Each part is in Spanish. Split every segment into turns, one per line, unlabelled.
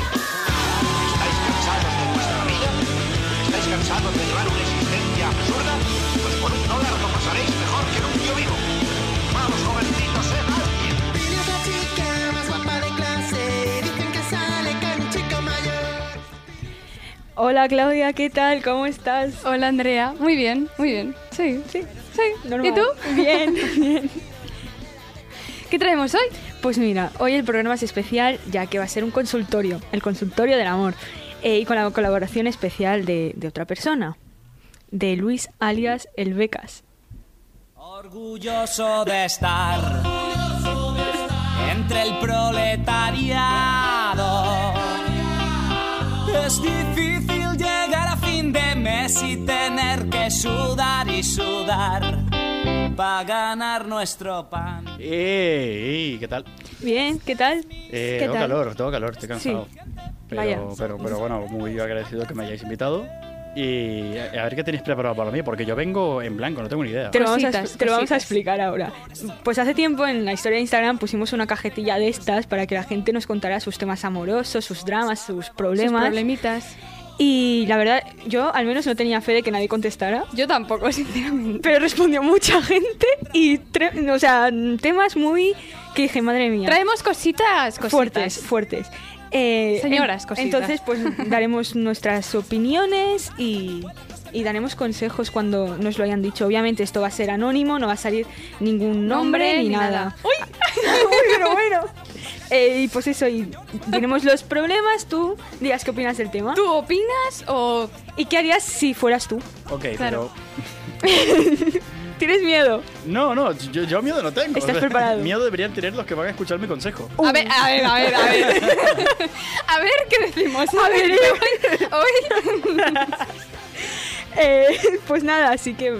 ¿Estáis cansados de vuestra vida? ¿Estáis cansados de llevar una existencia absurda? Pues por un dólar lo pasaréis mejor que en un tío vivo. Vamos, jovencitos, sed alguien.
Eres la chica más guapa de clase. Dicen que sale con chico mayor.
Hola Claudia, ¿qué tal? ¿Cómo estás?
Hola Andrea, muy bien, muy bien. Sí, sí, sí. ¿Y tú?
Bien, bien.
¿Qué traemos hoy?
Pues mira, hoy el programa es especial ya que va a ser un consultorio, el consultorio del amor, eh, y con la colaboración especial de, de otra persona, de Luis alias El Becas.
Orgulloso de estar entre el proletariado. Es difícil llegar a fin de mes y tener que sudar y sudar para ganar nuestro pan.
¡Ey! Eh, ¿Qué tal?
Bien, ¿qué tal?
Eh,
¿Qué
tengo
tal?
calor, tengo calor, estoy cansado. Pero,
Vaya.
pero, pero bueno, muy agradecido que me hayáis invitado. Y a a ver qué tenéis preparado para mí, porque yo vengo en blanco, no tengo ni idea.
Te lo, vamos a,
Cositas,
expl- te lo vamos a
cositas.
explicar ahora. Pues hace tiempo en la historia de Instagram pusimos una cajetilla de estas para que la gente nos contara sus temas amorosos, sus dramas, sus
Sus
problemas.
problemitas.
y la verdad, yo al menos no tenía fe de que nadie contestara.
Yo tampoco, sinceramente.
Pero respondió mucha gente y, tre- o sea, temas muy que dije, madre mía.
Traemos cositas, cositas.
fuertes, fuertes. Eh,
Señoras,
en-
cositas.
Entonces, pues daremos nuestras opiniones y, y daremos consejos cuando nos lo hayan dicho. Obviamente, esto va a ser anónimo, no va a salir ningún nombre,
Nombre
ni,
ni
nada.
nada.
¡Uy! Uy, pero bueno. Eh, y pues eso, y tenemos los problemas, tú digas qué opinas del tema.
¿Tú opinas o
¿Y qué harías si fueras tú?
Ok,
claro.
pero.
¿Tienes miedo?
No, no, yo, yo miedo no tengo.
¿Estás preparado?
Miedo deberían tener los que van a escuchar mi consejo.
A ver, a ver, a ver, a ver. a ver qué decimos. A ver, hoy, hoy-
Eh, pues nada, así que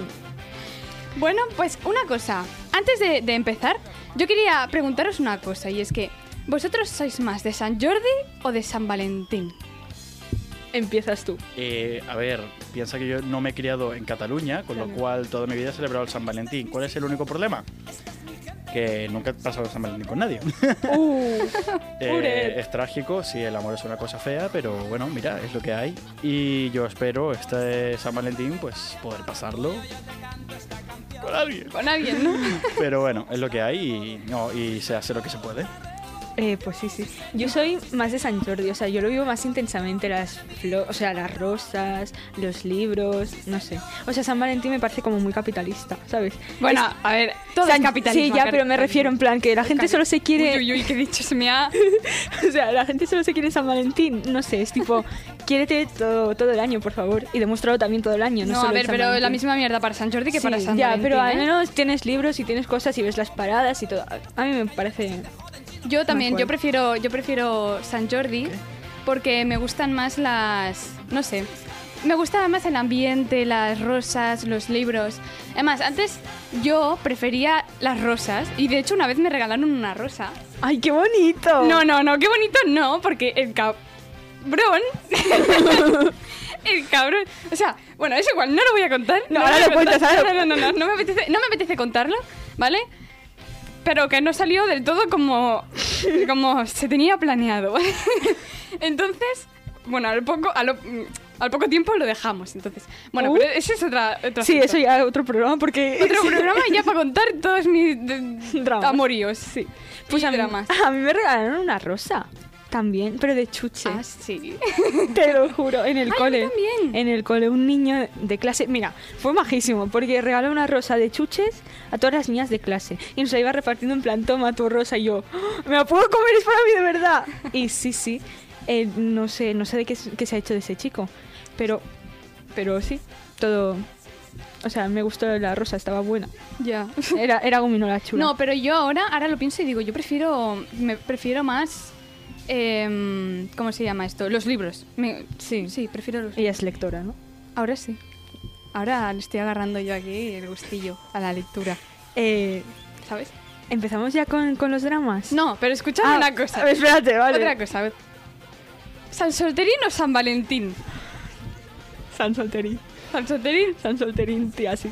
Bueno, pues una cosa. Antes de, de empezar, yo quería preguntaros una cosa y es que ¿vosotros sois más de San Jordi o de San Valentín?
empiezas tú.
Eh, a ver, piensa que yo no me he criado en Cataluña, con lo cual toda mi vida he celebrado el San Valentín. ¿Cuál es el único problema? Que nunca he pasado el San Valentín con nadie.
Uh.
Eh,
Ure.
es trágico, sí, el amor es una cosa fea, pero bueno, mira, es lo que hay. Y yo espero este San Valentín, pues, poder pasarlo con alguien.
Con alguien, ¿no?
Pero bueno, es lo que hay y, no, y se hace lo que se puede.
Eh, pues sí, sí. Yo soy más de San Jordi, o sea, yo lo vivo más intensamente, las flo- o sea, las rosas, los libros, no sé. O sea, San Valentín me parece como muy capitalista, ¿sabes?
Bueno,
Es-
a ver, todo
San-
es capitalismo.
Sí, ya, pero me
capitalismo.
refiero en plan que la gente solo se quiere,
Uy, uy, uy, qué he dicho, se me ha...
o sea, la gente solo se quiere San Valentín, no sé, es tipo, quiérete todo, todo el año, por favor, y demuéstralo también todo el año, no,
No,
solo
a
en
ver,
San
pero la
Valentín.
misma mierda para San Jordi que
Sí,
para San
ya,
Valentín.
pero al
¿eh?
menos tienes libros y tienes cosas y ves las paradas y todo. A mí me parece
Yo también, yo
acuerdo.
prefiero, yo prefiero San Jordi porque me gustan más las... no sé. Me gustaba más el ambiente, las rosas, los libros. Además, antes yo prefería las rosas y de hecho una vez me regalaron una rosa.
¡Ay, qué bonito!
No, no, no, qué bonito no, porque el cabrón. el cabrón. O sea, bueno, es igual, no lo voy a contar.
No, ahora
voy a
lo
contar.
cuentas, ahora lo-
No, no, no, no, no me apetece, no me apetece contarlo, ¿vale? Pero que no salió del todo como, como se tenía planeado. Entonces, bueno, al poco, a lo- al poco tiempo lo dejamos. Entonces, bueno,
Uh.
pero ese es otra, otro
Sí,
asunto.
eso ya otro programa porque
Otro programa ya para contar todos mis eh,
Dramas.
amoríos, sí.
Pues
Y
a mí,
dramas.
a mí me regalaron una rosa. También, pero de chuche.
Ah, sí.
Te lo juro, en el
Ay, a mí
cole.
también.
En el cole, un niño de clase. Mira, fue majísimo, porque regaló una rosa de chuches a todas las niñas de clase. Y nos la iba repartiendo en plan, toma tu rosa. Y yo, "¡Ah! ¿me la puedo comer? Es para mí de verdad. Y sí, sí. eh, no sé, no sé de qué, s- qué se ha hecho de ese chico. Pero, pero sí, todo. O sea, me gustó la rosa, estaba buena.
Ya.
Era, era gominola chula.
No, pero yo ahora, ahora lo pienso y digo, yo prefiero, me prefiero más, em, ¿cómo se llama esto? Los libros. Me-
Sí.
sí, prefiero los.
Ella es lectora, ¿no?
Ahora sí. Ahora le estoy agarrando yo aquí el gustillo a la lectura.
Eh,
¿sabes?
¿Empezamos ya con, con los dramas?
No, pero escúchame
Ah,
una cosa.
a ver, espérate, vale.
Otra cosa. a ver. ¿San Solterín o San Valentín?
San Solterín.
¿San Solterín?
San Solterín, tía, sí.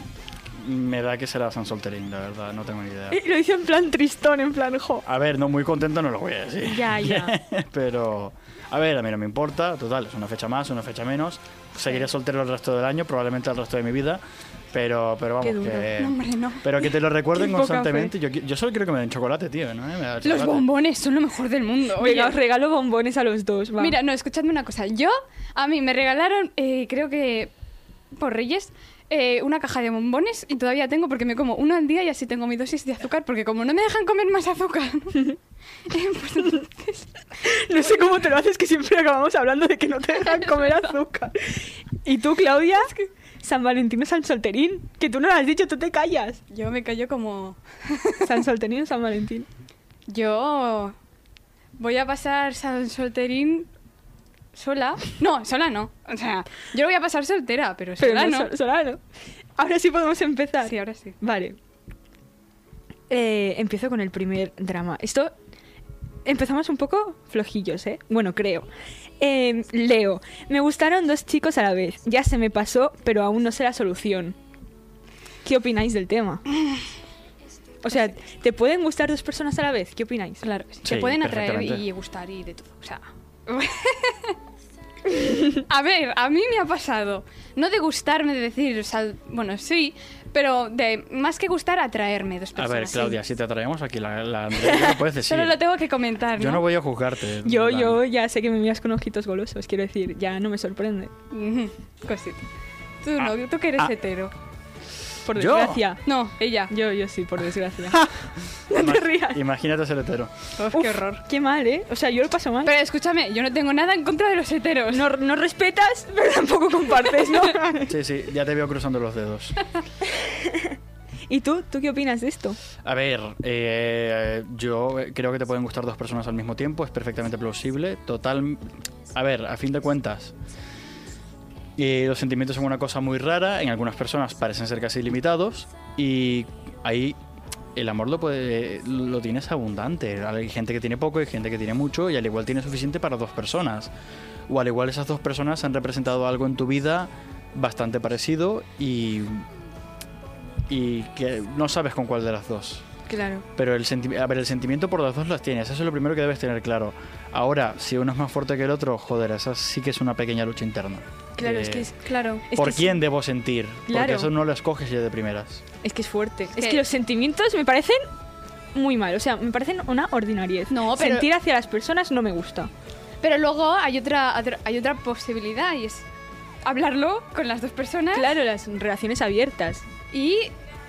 Me da que será San Solterín, la verdad, no tengo ni
Ah.
idea.
Y lo hizo en plan tristón, en plan, jo.
A ver, no muy contento no lo voy a decir.
Ya, ya.
Pero, a ver, a mí no me importa, total, es una fecha más, una fecha menos. Seguiré soltero el resto del año, probablemente el resto de mi vida. Pero, pero vamos,
Qué duro.
que.
No, hombre, no.
Pero que te lo recuerden
Qué poca
constantemente. Yo, qui- yo solo quiero que me den chocolate, tío, ¿no? Me da
Los
chocolate.
bombones son lo mejor del mundo. oye.
Venga, os regalo bombones a los dos, va.
Mira, no, escuchadme una cosa. Yo, a mí me regalaron, eh, creo que por Reyes, eh, una caja de bombones y todavía tengo porque me como uno al día y así tengo mi dosis de azúcar porque como no me dejan comer más azúcar. eh, pues entonces-
No sé cómo te lo haces, que siempre acabamos hablando de que no te dejan comer azúcar. ¿Y tú, Claudia? San Valentín o San Solterín. Que tú no lo has dicho, tú te callas.
yo me callo como...
San Solterín o San Valentín.
Yo voy a pasar San Solterín sola. No, sola no. O sea, yo lo voy a pasar soltera, pero
Pero
sola no.
no, so- Solano. Ahora sí podemos empezar.
Sí, ahora sí.
Vale. Eh, empiezo con el primer drama. Esto. Empezamos un poco flojillos, ¿eh? Bueno, creo. Eh, Leo. Me gustaron dos chicos a la vez. Ya se me pasó, pero aún no sé la solución. ¿Qué opináis del tema? O sea, ¿te pueden gustar dos personas a la vez? ¿Qué opináis?
Claro, que sí.
Sí,
te pueden atraer
perfectamente.
y gustar y de todo. O sea. a ver, a mí me ha pasado. No de gustarme, de decir, o sea, bueno, sí, pero de más que gustar, atraerme dos
A
personas.
ver,
sí.
Claudia, si te atraemos aquí, la, la Andrea, ya lo puedes decir.
Solo lo tengo que comentar, ¿no?
Yo no voy a juzgarte. en
Yo,
plan,
yo ya sé que me miras con ojitos golosos, quiero decir, ya no me sorprende.
Ujú, Cosita. Tú no, tú que eres
ah.
hetero.
Por
¿Yo?
desgracia.
No, ella.
Yo, yo sí, por desgracia.
ima-
no te rías.
Imagínate ser hetero.
Uf,
Uf,
qué horror.
Qué mal, ¿eh? O sea, yo lo paso mal.
Pero escúchame, yo no tengo nada en contra de los heteros.
no, no respetas, pero tampoco compartes, ¿no?
Sí, sí, ya te veo cruzando los dedos.
¿Y tú? ¿Tú qué opinas de esto?
A ver, eh, yo creo que te pueden gustar dos personas al mismo tiempo, es perfectamente plausible. Total. A ver, a fin de cuentas, eh, los sentimientos son una cosa muy rara, en algunas personas parecen ser casi ilimitados, y ahí el amor lo, puede, lo tienes abundante. Hay gente que tiene poco, hay gente que tiene mucho, y al igual tiene suficiente para dos personas. O al igual esas dos personas han representado algo en tu vida bastante parecido y. Y que no sabes con cuál de las dos.
Claro.
Pero el, senti- a ver, el sentimiento por las dos las tienes, eso es lo primero que debes tener claro. Ahora, si uno es más fuerte que el otro, joder, esa sí que es una pequeña lucha interna.
Claro,
Eh,
es que es. Claro.
Es
¿Por
que es-
quién debo sentir?
Claro.
Porque eso no lo escoges ya de primeras.
Es que es fuerte. Es, que...
que-
los sentimientos me parecen muy mal. O sea, me parecen una ordinariez.
No, pero-
Sentir hacia las personas no me gusta.
Pero luego hay otra, otra- hay otra posibilidad y es hablarlo con las dos personas
Claro, las relaciones abiertas.
y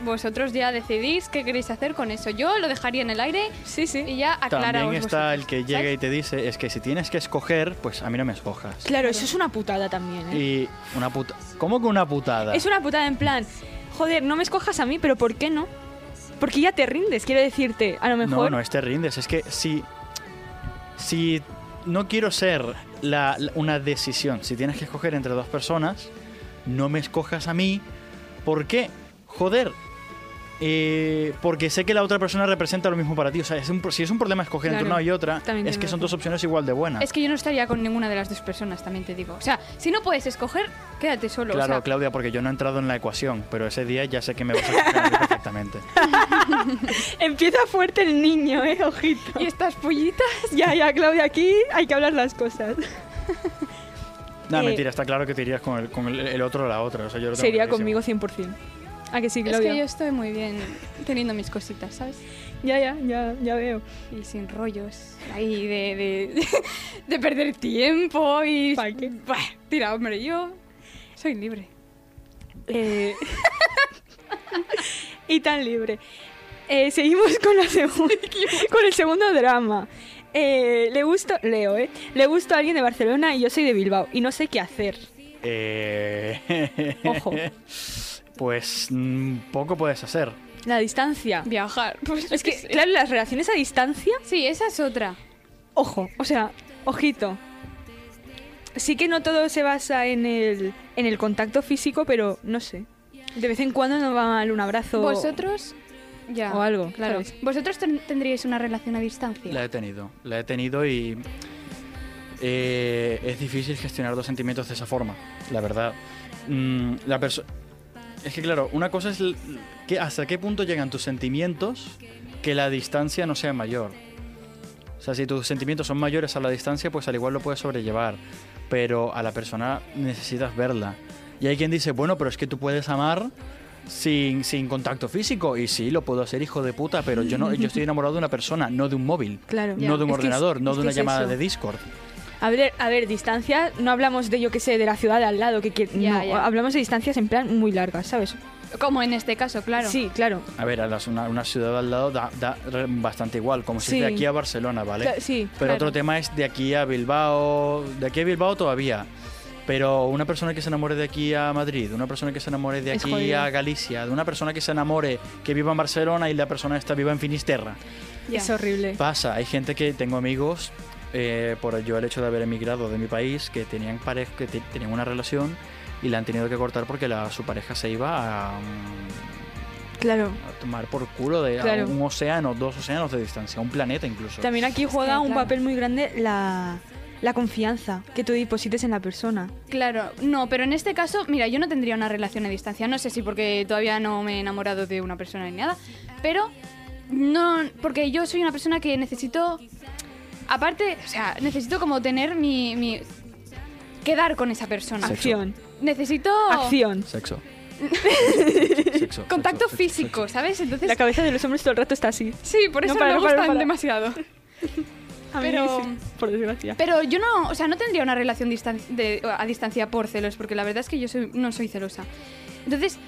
vosotros ya decidís qué queréis hacer con eso. Yo lo dejaría en el aire
Sí, sí.
y ya aclaraos
También está el
vosotros,
que llega y
¿sabes?
te dice, es que si tienes que escoger, pues a mí no me escojas.
Claro, eso es una putada también, ¿eh?
Y una puta... ¿Cómo que una putada?
Es una putada en plan, joder, no me escojas a mí, pero ¿por qué no? Porque ya te rindes, quiero decirte, a lo mejor...
No, no, es te rindes. Es que si. Si no quiero ser la- la- una decisión, si tienes que escoger entre dos personas, no me escojas a mí. ¿Por qué? Joder. Eh, porque sé que la otra persona representa lo mismo para ti. O sea, es un pro- si es un problema escoger entre
Claro.
una y otra,
También
es
tiene
que son
razón.
dos opciones igual de buenas.
Es que yo no estaría con ninguna de las dos personas, también te digo. O sea, si no puedes escoger, quédate solo. o
Claro,
sea,
Claudia, porque yo no he entrado en la ecuación, pero ese día ya sé que me vas a escoger a mí perfectamente.
Empieza fuerte el niño, ¿eh? Ojito.
Y estas pollitas.
Ya, ya, Claudia, aquí hay que hablar las cosas.
No,
Eh,
mentira, está claro que te irías con el, con el- el otro o la otra. O sea, yo lo tengo
Sería
clarísimo.
conmigo 100%. ¿A que sí,
Es
Claudia?
que yo estoy muy bien teniendo mis cositas, ¿sabes?
Ya, ya, ya, ya veo.
Y sin rollos. Ahí de, de, de perder tiempo y...
¿Pa' qué?
Bah, tira, hombre, yo soy libre.
Eh, y tan libre. Eh, seguimos con, la segun- con el segundo drama. Eh, le gusto, Leo, ¿eh? Le gusto a alguien de Barcelona y yo soy de Bilbao y no sé qué hacer.
Eh...
Ojo.
Pues mm, poco puedes hacer.
La distancia.
Viajar. Pues
Es que,
sí.
claro, las relaciones a distancia,
Sí, esa es otra.
ojo, o sea, ojito. Sí que no todo se basa en el, en
Pues
el contacto físico, pero no sé. De vez en cuando nos va mal un abrazo.
Vosotros Ya,
o algo,
Claro.
¿sabes?
¿Vosotros ten- tendríais una relación a distancia?
La he tenido, la he tenido y eh, es difícil gestionar dos sentimientos de esa forma, la verdad. Mm, la perso- es que claro, una cosa es l- que hasta qué punto llegan tus sentimientos que la distancia no sea mayor. O sea, si tus sentimientos son mayores a la distancia, pues al igual lo puedes sobrellevar. Pero a la persona necesitas verla. Y hay quien dice, bueno, pero es que tú puedes amar sin, sin contacto físico. Y sí, lo puedo hacer, hijo de puta, pero yo, no, yo estoy enamorado de una persona, no de un móvil.
Claro.
Ya.
No de un
Es que es-
ordenador, no
es
de
que
una
es
llamada
eso.
de Discord.
A ver, a ver, distancia, no hablamos de, yo que sé, de la ciudad de al lado, que quiere-
Ya,
no,
ya.
hablamos de distancias en plan muy largas, ¿sabes?
Como en este caso, claro.
Sí, claro.
A ver, a las- una, una ciudad al lado da, da re- bastante igual, como si
Sí.
de aquí a Barcelona, ¿vale?
Cla- sí,
Pero
claro.
otro tema es de aquí a Bilbao, de aquí a Bilbao todavía. Pero una persona que se enamore de aquí a Madrid, una persona que se enamore de
Es
aquí
jodido.
a Galicia, de una persona que se enamore que viva en Barcelona y la persona está viva en Finisterra.
Ya.
Es horrible.
Pasa, hay gente que tengo amigos eh, por yo el hecho de haber emigrado de mi país que tenían pareja, que te- tenían una relación y la han tenido que cortar porque la, su pareja se iba a, mm,
Claro.
a tomar por culo de a
Claro.
un océano, dos océanos de distancia, un planeta incluso.
También aquí juega un
claro.
papel muy grande la, la confianza que tú deposites en la persona.
Claro, no, pero en este caso, mira, yo no tendría una relación a distancia. No sé si porque todavía no me he enamorado de una persona ni nada, pero no, porque yo soy una persona que necesito, aparte, o sea, necesito como tener mi, mi- quedar con esa persona.
Sexo.
Acción.
Necesito
Oh. Acción.
Sexo. Sexo,
contacto
sexo, sexo,
físico,
sexo.
¿sabes? Entonces,
La cabeza de los hombres todo el rato está así.
sí, por
No,
eso
para,
me
no, para,
gustan
para.
demasiado.
A mí
Pero-
sí, por desgracia.
Pero yo no, o sea, no tendría una relación distan- de- a distancia por celos, porque la verdad es que yo soy- no soy celosa. Entonces,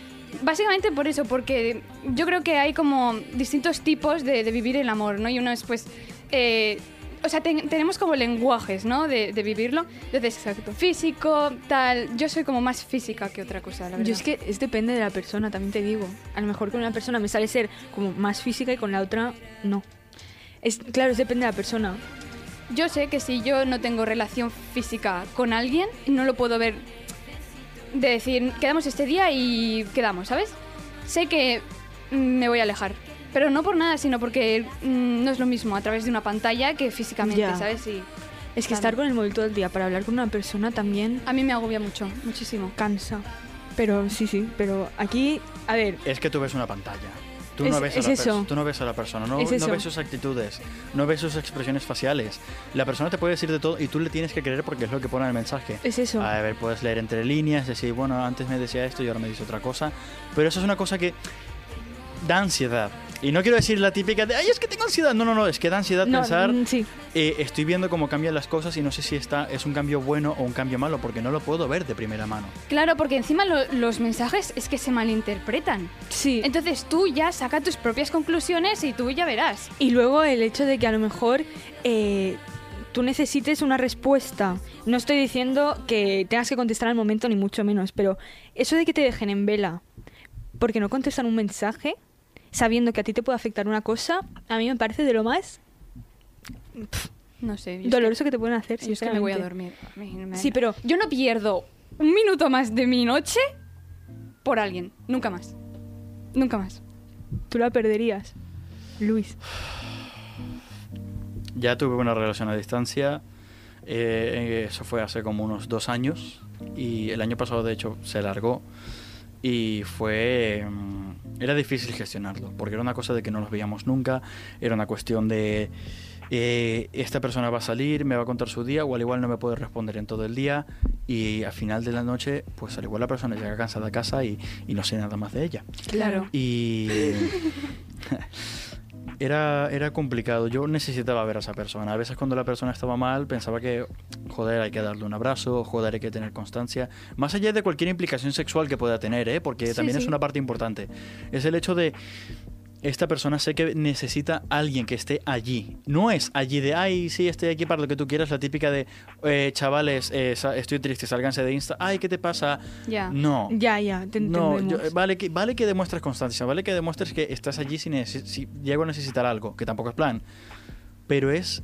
básicamente por eso, porque yo creo que hay como distintos tipos de, de vivir el amor, ¿no? Y uno es pues... eh, o sea, ten- tenemos como lenguajes, ¿no? De, de vivirlo. Entonces, físico, tal. Yo soy como más física que otra cosa, la verdad.
Yo es que es depende de la persona, también te digo. A lo mejor con una persona me sale ser como más física y con la otra no. Es, claro, es depende de la persona.
Yo sé que si yo no tengo relación física con alguien, no lo puedo ver de decir, quedamos este día y quedamos, ¿sabes? Sé que mm, me voy a alejar. Pero no por nada, sino porque mm, no es lo mismo a través de una pantalla que físicamente,
Ya.
¿sabes? Y
Es que estar con el móvil todo el día para hablar con una persona también
a mí me agobia mucho, muchísimo.
cansa. Pero sí, sí, pero aquí, a ver,
Es que tú ves una pantalla. Tú,
Es-
no ves
es
a la
eso.
perso- tú no ves a la persona, no,
Es
no
eso.
ves sus actitudes, no ves sus expresiones faciales. La persona te puede decir de todo y tú le tienes que creer porque es lo que pone en el mensaje.
es eso.
A ver, puedes leer entre líneas, decir, bueno, antes me decía esto y ahora me dice otra cosa. Pero eso es una cosa que da ansiedad. Y no quiero decir la típica de, ay, es que tengo ansiedad. No, no, no, es que da ansiedad
No,
pensar,
mm, sí,
eh, estoy viendo cómo cambian las cosas y no sé si está, es un cambio bueno o un cambio malo, porque no lo puedo ver de primera mano.
Claro, porque encima lo- los mensajes es que se malinterpretan.
sí.
Entonces tú ya saca tus propias conclusiones y tú ya verás.
Y luego el hecho de que a lo mejor eh, tú necesites una respuesta. No estoy diciendo que tengas que contestar al momento, ni mucho menos, pero eso de que te dejen en vela porque no contestan un mensaje, sabiendo que a ti te puede afectar una cosa, a mí me parece de lo más
No sé. yo es que-
doloroso que te pueden hacer.
Yo es que me voy a
sinceramente.
dormir. A mí no me-
Sí, pero-
Yo no pierdo un minuto más de mi noche por alguien. Nunca más. Nunca más.
Tú la perderías, Luis.
Ya tuve una relación a distancia. eh, eso fue hace como unos dos años. Y el año pasado, de hecho, se largó. Y fue. mm, Era difícil gestionarlo. Porque era una cosa de que no nos veíamos nunca. Era una cuestión de. eh, esta persona va a salir, me va a contar su día, o al igual no me puede responder en todo el día. Y al final de la noche, pues al igual la persona llega cansada a casa y- y no sé nada más de ella.
Claro.
Y. Era, era complicado. Yo necesitaba ver a esa persona. A veces, cuando la persona estaba mal, pensaba que, joder, hay que darle un abrazo, joder, hay que tener constancia. Más allá de cualquier implicación sexual que pueda tener, ¿eh? porque
Sí,
también
sí.
es una parte importante. Es el hecho de. Esta persona sé que necesita alguien que esté allí. No es allí de, ay, sí, estoy aquí para lo que tú quieras. La típica de, eh, chavales, eh, sa- estoy triste, sálganse de Insta. Ay, ¿qué te pasa?
Ya.
No.
Ya, ya, te
No,
entendemos.
yo- eh, vale, que, vale que demuestres constancia, vale que demuestres que estás allí si, neces- si llego a necesitar algo, que tampoco es plan. Pero es,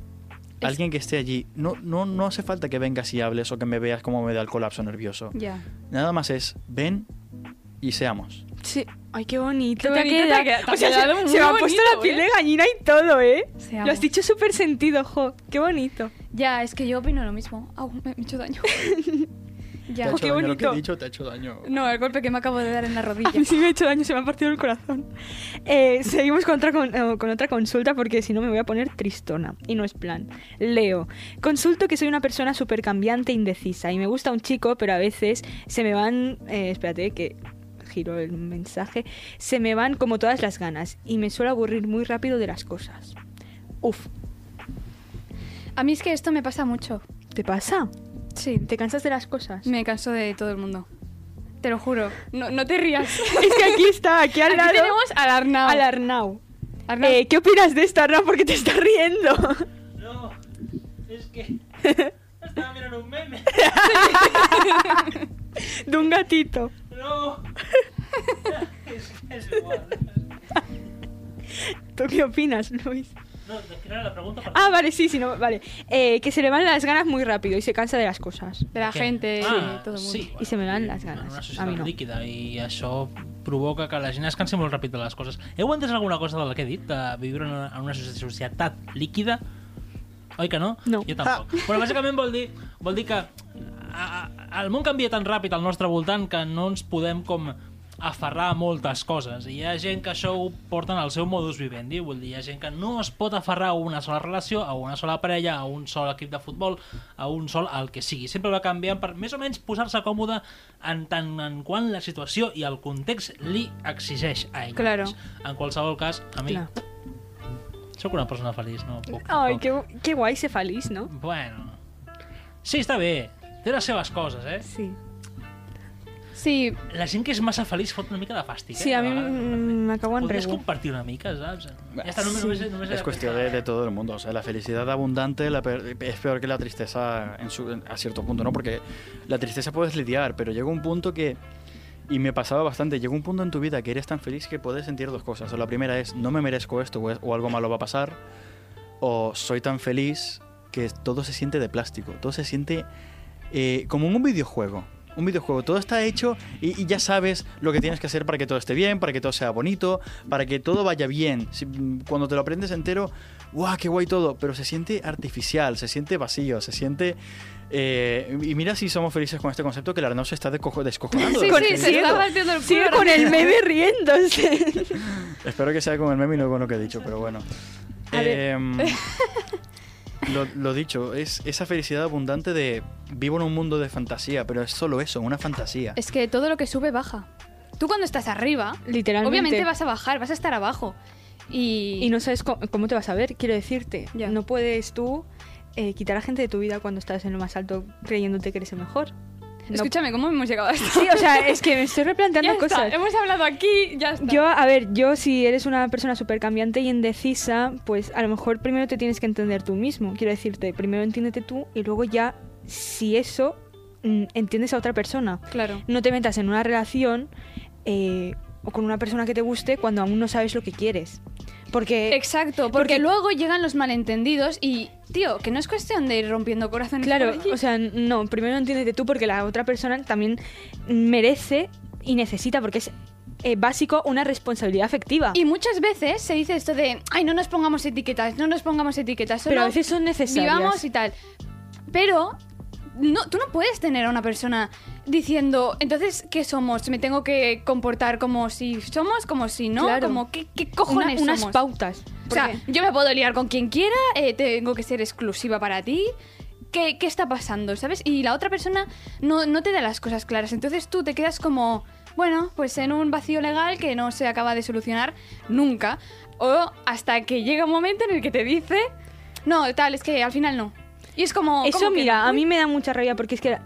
alguien que esté allí. No, no, no hace falta que vengas y hables o que me veas como me da el colapso nervioso.
Ya.
Nada más es, ven, y seamos.
Sí. Ay, qué bonito.
Qué
te ha
bonito te
quedado.
ha quedado, te ha
O sea,
quedado
se,
muy
se me ha puesto
bonito,
la piel
¿eh?
de gallina y todo, ¿eh?
Seamos.
Lo has dicho súper sentido, jo. Qué bonito.
Ya, es que yo opino lo mismo. Au, me, me he hecho daño.
te
ya.
ha hecho
Oh, qué
daño lo que he
bonito.
dicho, te ha hecho daño.
No, el golpe que me acabo de dar en la rodilla.
A mí sí me ha hecho daño, se me ha partido el corazón. Eh, seguimos con otra, con, eh, con otra consulta porque si no me voy a poner tristona. Y no es plan. Leo. Consulto que soy una persona súper cambiante e indecisa. Y me gusta un chico, pero a veces se me van... eh, espérate, que giro el mensaje. Se me van como todas las ganas. Y me suelo aburrir muy rápido de las cosas. Uf,
A mí es que esto me pasa mucho.
¿te pasa?
Sí.
¿Te cansas de las cosas?
Me canso de todo el mundo. Te lo juro. No, no te rías.
Es que aquí está, aquí al
Aquí
lado,
tenemos al Arnau.
al Arnau.
Arnau,
Eh, ¿Qué opinas de esto, Arnau? Porque te estás riendo.
No, es que estaba mirando un meme.
De un gatito.
No, es que es igual.
¿Tú qué opinas, Luis?
No, es que era la pregunta para.
Ah, vale, sí, sí, no, vale. Eh, que se le van las ganas muy rápido y se cansa de las cosas.
de la gente,
Ah,
de todo el mundo.
sí,
I se me van les ganes.
En una
A mi
societat
no.
líquida i això provoca que la gent es cansi molt ràpid de les coses. Heu entès alguna cosa del que he dit? De viure en una, en una socie- societat líquida? Oi que no?
No.
Jo tampoc. Però bàsicament vol dir, vol dir que a, a, el món canvia tan ràpid al nostre voltant que no ens podem com aferrar a moltes coses. I hi ha gent que això ho porten al seu modus vivendi, vull dir, hi ha gent que no es pot aferrar a una sola relació, a una sola parella, a un sol equip de futbol, a un sol el que sigui. Sempre va canviant per més o menys posar-se còmode en tant en quan la situació i el context li exigeix a ell.
Claro.
mateix. En qualsevol cas, a mi,
Clar.
sóc una persona feliç, no puc.
Ay,
tampoc.
qué, qué guay se feliz, ¿no?
Bueno. Sí, està bé. Té les seves coses, eh?
Sí.
Sí,
La gent que és massa feliç fot una mica de fàstic, eh?
Sí, a
De
mí
vegades.
mm, me acabo en
Podries
regu.
compartir una mica, saps? Ja està, només,
Sí.
només, només
Es cuestión de, de todo el mundo. O sea, la felicidad abundante la per- es peor que la tristeza en su- en- a cierto punto, ¿no? Porque la tristeza puedes lidiar, pero llega un punto que. Y me pasaba bastante. Llega un punto en tu vida que eres tan feliz que puedes sentir dos cosas. O la primera es, no me merezco esto o, es- o algo malo va a pasar. O soy tan feliz que todo se siente de plástico. Todo se siente eh, como en un videojuego. Un videojuego, todo está hecho y, y ya sabes lo que tienes que hacer para que todo esté bien, para que todo sea bonito, para que todo vaya bien. Si- cuando te lo aprendes entero, ¡guau, qué guay todo! Pero se siente artificial, se siente vacío, se siente... eh, y mira si somos felices con este concepto que el Arnau se está descojo- descojonando.
sí,
del
sí, se
concepto.
está partiendo el culo.
Sigue
ahora
con el
mismo.
meme riéndose.
Espero que sea con el meme y no con lo que he dicho, pero bueno.
A ver.
Em, lo, lo dicho, es esa felicidad abundante de vivo en un mundo de fantasía, pero es solo eso, una fantasía.
Es que todo lo que sube baja. Tú cuando estás arriba,
Literalmente.
obviamente vas a bajar, vas a estar abajo. Y,
Y no sabes cómo, cómo te vas a ver, quiero decirte.
Ya.
No puedes tú eh, quitar a gente de tu vida cuando estás en lo más alto creyéndote que eres el mejor. No-
Escúchame, ¿cómo hemos llegado a esto?
Sí, o sea, es que me estoy
ya
replanteando
está,
cosas.
hemos hablado aquí, ya está.
Yo, a ver, yo si eres una persona súper cambiante y indecisa, pues a lo mejor primero te tienes que entender tú mismo. Quiero decirte, primero entiéndete tú y luego ya, si eso, mm, entiendes a otra persona.
Claro.
No te metas en una relación eh, o con una persona que te guste cuando aún no sabes lo que quieres. Porque...
Exacto, porque,
Eh, porque-
luego llegan los malentendidos y, tío, que no es cuestión de ir rompiendo corazones.
Claro,
por allí.
o sea, no, primero entiéndete tú porque la otra persona también merece y necesita, porque es eh, básico, una responsabilidad afectiva.
Y muchas veces se dice esto de, ay, no nos pongamos etiquetas, no nos pongamos etiquetas, solo
pero a veces son necesarias.
vivamos y tal. Pero no, tú no puedes tener a una persona diciendo, entonces, ¿qué somos? ¿Me tengo que comportar como si somos, como si no?
Claro.
Como, ¿qué, qué
Una-
cojones
unas
somos?
pautas.
O sea, yo me puedo liar con quien quiera, eh, tengo que ser exclusiva para ti. ¿Qué, qué está pasando? ¿Sabes? Y la otra persona no, no te da las cosas claras. Entonces tú te quedas como, bueno, pues en un vacío legal que no se acaba de solucionar nunca. O hasta que llega un momento en el que te dice, no, tal, es que al final no. Y es como...
Eso,
¿cómo que
mira,
no?
a mí me da mucha rabia porque es que...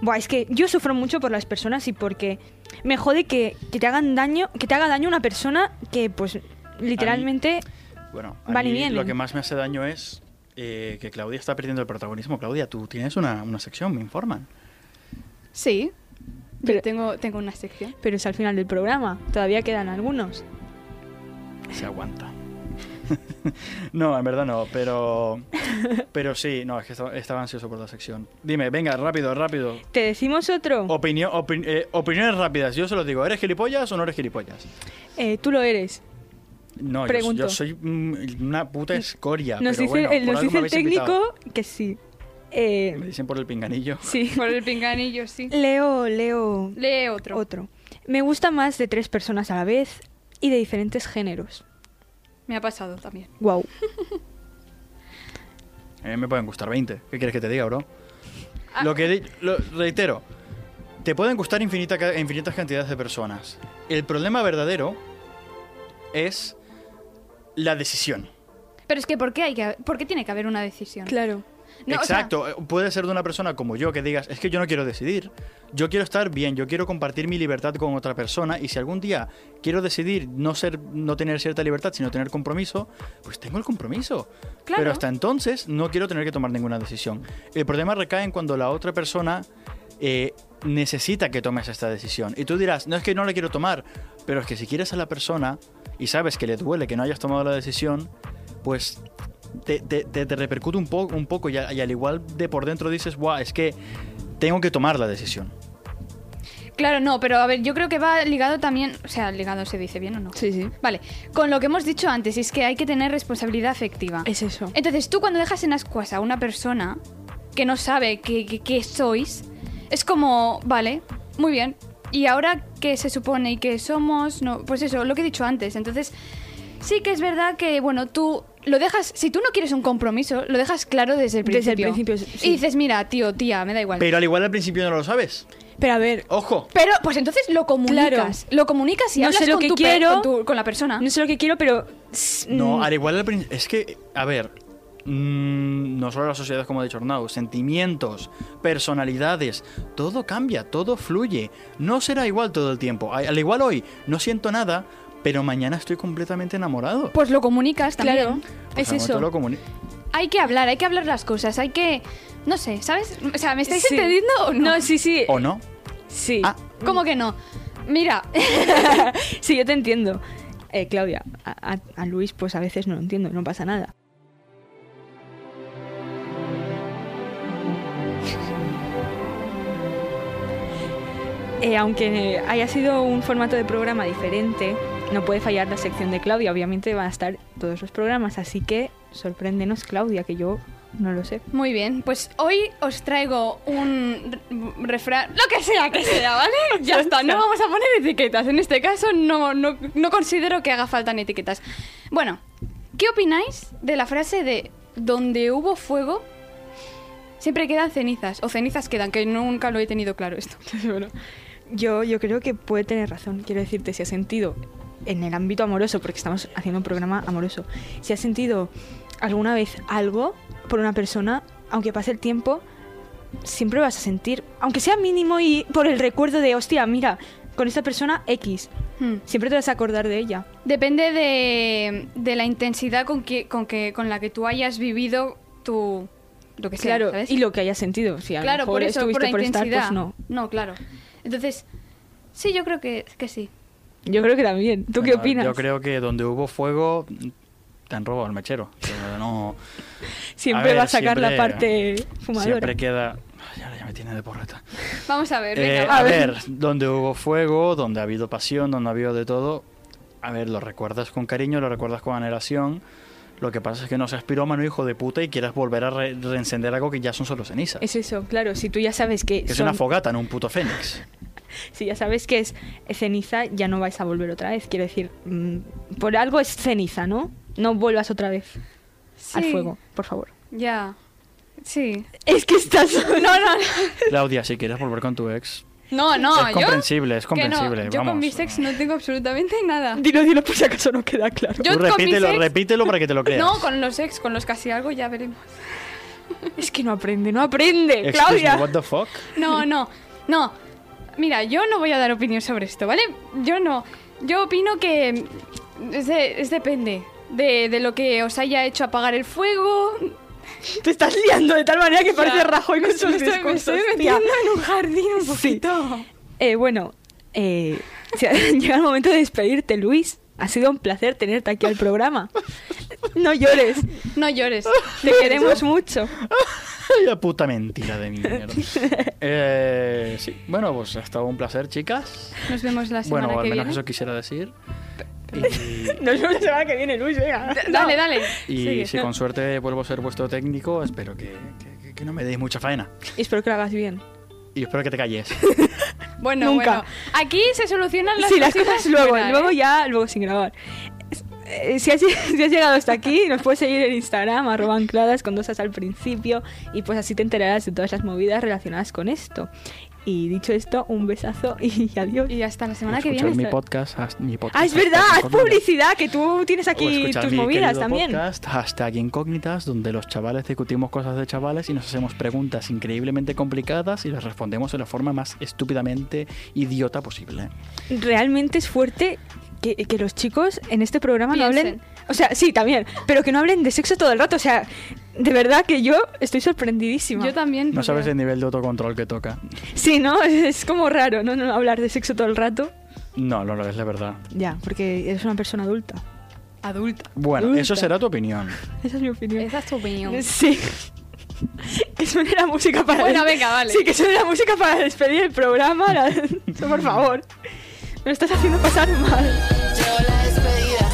Buah, es que yo sufro mucho por las personas y porque me jode que, que te hagan daño, que te haga daño una persona que, pues, literalmente...
Bueno, a
Van y
mí
vienen.
lo que más me hace daño es eh, que Claudia está perdiendo el protagonismo. Claudia, tú tienes una, una sección, me informan.
Sí. Yo
Pero-
tengo, tengo una sección.
Pero es al final del programa, todavía quedan algunos.
Se aguanta. No, en verdad no, pero. Pero sí, no, es que estaba, estaba ansioso por la sección. Dime, venga, rápido, rápido.
¿Te decimos otro?
Opinión, opin- eh, opiniones rápidas. Yo se los digo, ¿eres gilipollas o no eres gilipollas?
Eh, tú lo eres.
No, yo-
Pregunto.
Yo, soy mm, una puta escoria.
Nos
pero
dice,
bueno,
el,
por algo
nos
me
dice el
habéis invitado.
técnico que sí. Eh,
Me dicen por el pinganillo.
sí.
Por el pinganillo, sí.
Leo, leo
Lee otro.
otro. Me gusta más de tres personas a la vez y de diferentes géneros.
Me ha pasado también.
Wow.
A mí me pueden gustar 20. ¿Qué quieres que te diga, bro?
Ah.
Lo que di- lo- reitero, te pueden gustar infinita, ca- infinitas cantidades de personas. El problema verdadero es la decisión.
Pero es que ¿por qué, hay que, ha- por qué tiene que haber una decisión?
Claro.
No, o sea,
Exacto, eh, puede ser de una persona como yo que digas, es que yo no quiero decidir, yo quiero estar bien, yo quiero compartir mi libertad con otra persona y si algún día quiero decidir no ser no tener cierta libertad, sino tener compromiso, pues tengo el compromiso.
Claro.
Pero hasta entonces no quiero tener que tomar ninguna decisión. El problema recae en cuando la otra persona eh, necesita que tomes esta decisión. Y tú dirás, no es que no la quiero tomar, pero es que si quieres a la persona y sabes que le duele que no hayas tomado la decisión, pues te, te- te- te repercute un, poco un poco y, a- y al igual de por dentro dices, guau, es que tengo que tomar la decisión.
claro, no, pero a ver, yo creo que va ligado también, o sea, ligado se dice bien o no.
Sí, sí.
Vale, con lo que hemos dicho antes, es que hay que tener responsabilidad afectiva.
Es eso.
Entonces, tú cuando dejas en ascuas a una persona que no sabe qué que, que sois, es como, vale, muy bien. Y ahora que se supone y que somos, no, pues eso, lo que he dicho antes. Entonces, sí que es verdad que, bueno, tú lo dejas, si tú no quieres un compromiso, lo dejas claro desde el
Desde
principio.
el principio, sí.
Y dices, mira, tío, tía, me da igual.
Pero al igual al principio no lo sabes.
Pero a ver,
Ojo,
Pero, pues entonces lo comunicas. Lo comunicas y
No
hablas
sé lo
con
que
tu pe-
quiero.
con, tu- con la persona.
no sé lo que quiero, pero... s-
no,
mm,
al igual al principio... Es que, a ver, mm, no solo las sociedades como ha dicho Arnau, sentimientos, personalidades, todo cambia, todo fluye. No será igual todo el tiempo. A- Al igual hoy no siento nada, pero mañana estoy completamente enamorado.
Pues lo comunicas también.
Claro,
Pues
es
al momento
eso.
lo comuni-
Hay que hablar, hay que hablar las cosas, hay que... No sé, ¿sabes? O sea, ¿me estáis
Sí.
entendiendo o no?
No, sí, sí.
¿O no?
Sí.
Ah.
¿Cómo que no? Mira,
Sí, yo te entiendo. Eh, Claudia, a, a- a Luis pues a veces no lo entiendo, no pasa nada. Eh, aunque haya sido un formato de programa diferente, no puede fallar la sección de Claudia. Obviamente van a estar todos los programas, así que sorpréndenos Claudia, que yo no lo sé.
muy bien, pues hoy os traigo un re- refrán, lo que sea que sea, ¿vale? Ya está, no vamos a poner etiquetas, en este caso no, no, no considero que haga falta ni etiquetas. Bueno, ¿qué opináis de la frase de donde hubo fuego, siempre quedan cenizas, o cenizas quedan, que nunca lo he tenido claro esto.
Bueno, yo, yo creo que puede tener razón. Quiero decirte, si has sentido en el ámbito amoroso, porque estamos haciendo un programa amoroso, si has sentido alguna vez algo por una persona, aunque pase el tiempo, siempre vas a sentir, aunque sea mínimo y por el recuerdo de, hostia, mira, con esta persona X,
Hmm.
siempre te vas a acordar de ella.
Depende de, de la intensidad con que, con que con la que tú hayas vivido tu lo que sea,
claro,
¿sabes?
y lo que hayas sentido. Si a lo
claro,
mejor
por eso, por
estuviste
la
por, estar,
intensidad.
pues no.
claro. Entonces, sí, yo creo que, que sí.
Yo creo que también. ¿Tú qué
Bueno,
opinas?
Yo creo que donde hubo fuego te han robado el mechero. Pero No,
Siempre
A ver,
va a sacar la
siempre-
parte fumadora.
siempre queda. Ay, ahora ya me tiene de porreta.
Vamos a ver,
Eh,
venga,
a ver, donde hubo fuego, donde ha habido pasión, donde ha habido de todo. A ver, lo recuerdas con cariño, lo recuerdas con anhelación. Lo que pasa es que no seas pirómano, hijo de puta, y quieras volver a re- reencender algo que ya son solo cenizas.
Es eso, claro, si tú ya sabes que,
que es
son-
una fogata, no un puto fénix.
si ya sabes que es ceniza, ya no vais a volver otra vez. Quiero decir, mm, por algo es ceniza, ¿no? No vuelvas otra vez al
Sí,
fuego, por favor.
Ya. Sí.
Es que estás... No, no,
Claudia, si quieres volver con tu ex,
No, no,
es
yo
comprensible, es
que no,
comprensible.
yo
vamos.
con mi sex no tengo absolutamente nada.
Dilo, dilo, por si acaso no queda claro.
Yo
Tú
con mi
repítelo,
sex-
repítelo para que te lo creas.
No, con los ex, con los casi algo ya veremos.
Es que no aprende, no aprende,
Excuse me,
Claudia.
what the fuck?
No, no, no. Mira, yo no voy a dar opinión sobre esto, ¿vale? Yo no. Yo opino que es, de- es depende de, de lo que os haya hecho apagar el fuego.
Te estás liando de tal manera que parece
Ya.
Rajoy con
Me
sus
estoy- me
discursos,
estoy
tía.
metiendo en un jardín un
Sí.
poquito.
Eh, bueno, eh, si- llega el momento de despedirte, Luis. Ha sido un placer tenerte aquí al programa. No llores,
No llores.
te queremos mucho.
La puta mentira de mierda. Eh, sí. Bueno, pues ha estado un placer, chicas.
Nos vemos la semana
Bueno, al
que
menos
viene.
eso quisiera decir. Y,
Nos vemos la semana que viene, Luis, venga.
Dale, dale.
y
Sigue.
si con suerte vuelvo a ser vuestro técnico, espero que, que- que no me deis mucha faena.
Y espero que lo hagas bien.
Y espero que te calles.
Bueno,
Nunca.
bueno. Aquí se solucionan las
sí, las
cositas
cosas luego,
buenas, ¿eh?
luego ya, luego sin grabar. Eh, Si has, si has llegado hasta aquí, nos puedes seguir en Instagram, arroba ancladas con dos as al principio, y pues así te enterarás de todas las movidas relacionadas con esto. Y dicho esto, un besazo y adiós.
Y hasta la semana que
Escuchad
viene.
mi podcast, haz- mi podcast.
Ah, es verdad,
Hashtag
haz
Incógnitas.
publicidad, que tú tienes
O
aquí
escuchad
tus
mi
movidas
querido
también.
Podcast, hashtag incógnitas, donde los chavales discutimos cosas de chavales y nos hacemos preguntas increíblemente complicadas y las respondemos de la forma más estúpidamente idiota posible.
Realmente es fuerte que, que los chicos en este programa no
Piensen.
hablen. O sea, sí, también, pero que no hablen de sexo todo el rato. O sea, de verdad que yo estoy sorprendidísima.
Yo también.
No sabes
porque-
el nivel de autocontrol que toca.
Sí, ¿no? Es como raro, ¿no? No hablar de sexo todo el rato.
No, no lo es la verdad.
Ya, porque eres una persona adulta.
Adulta.
Bueno,
Adulta.
eso será tu opinión.
Esa es mi opinión.
Esa es tu opinión.
Sí. que suene la música para...
Bueno, venga, vale.
Sí, que suene la música para despedir el programa. la- Eso, Por favor. Me lo estás haciendo pasar mal.
Llegó la despedida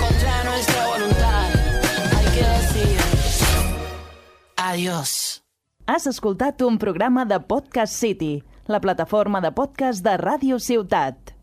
contra nuestra voluntad. Hay que decir adiós.
Has escoltat un programa de Podcast City, la plataforma de podcast de Ràdio Ciutat.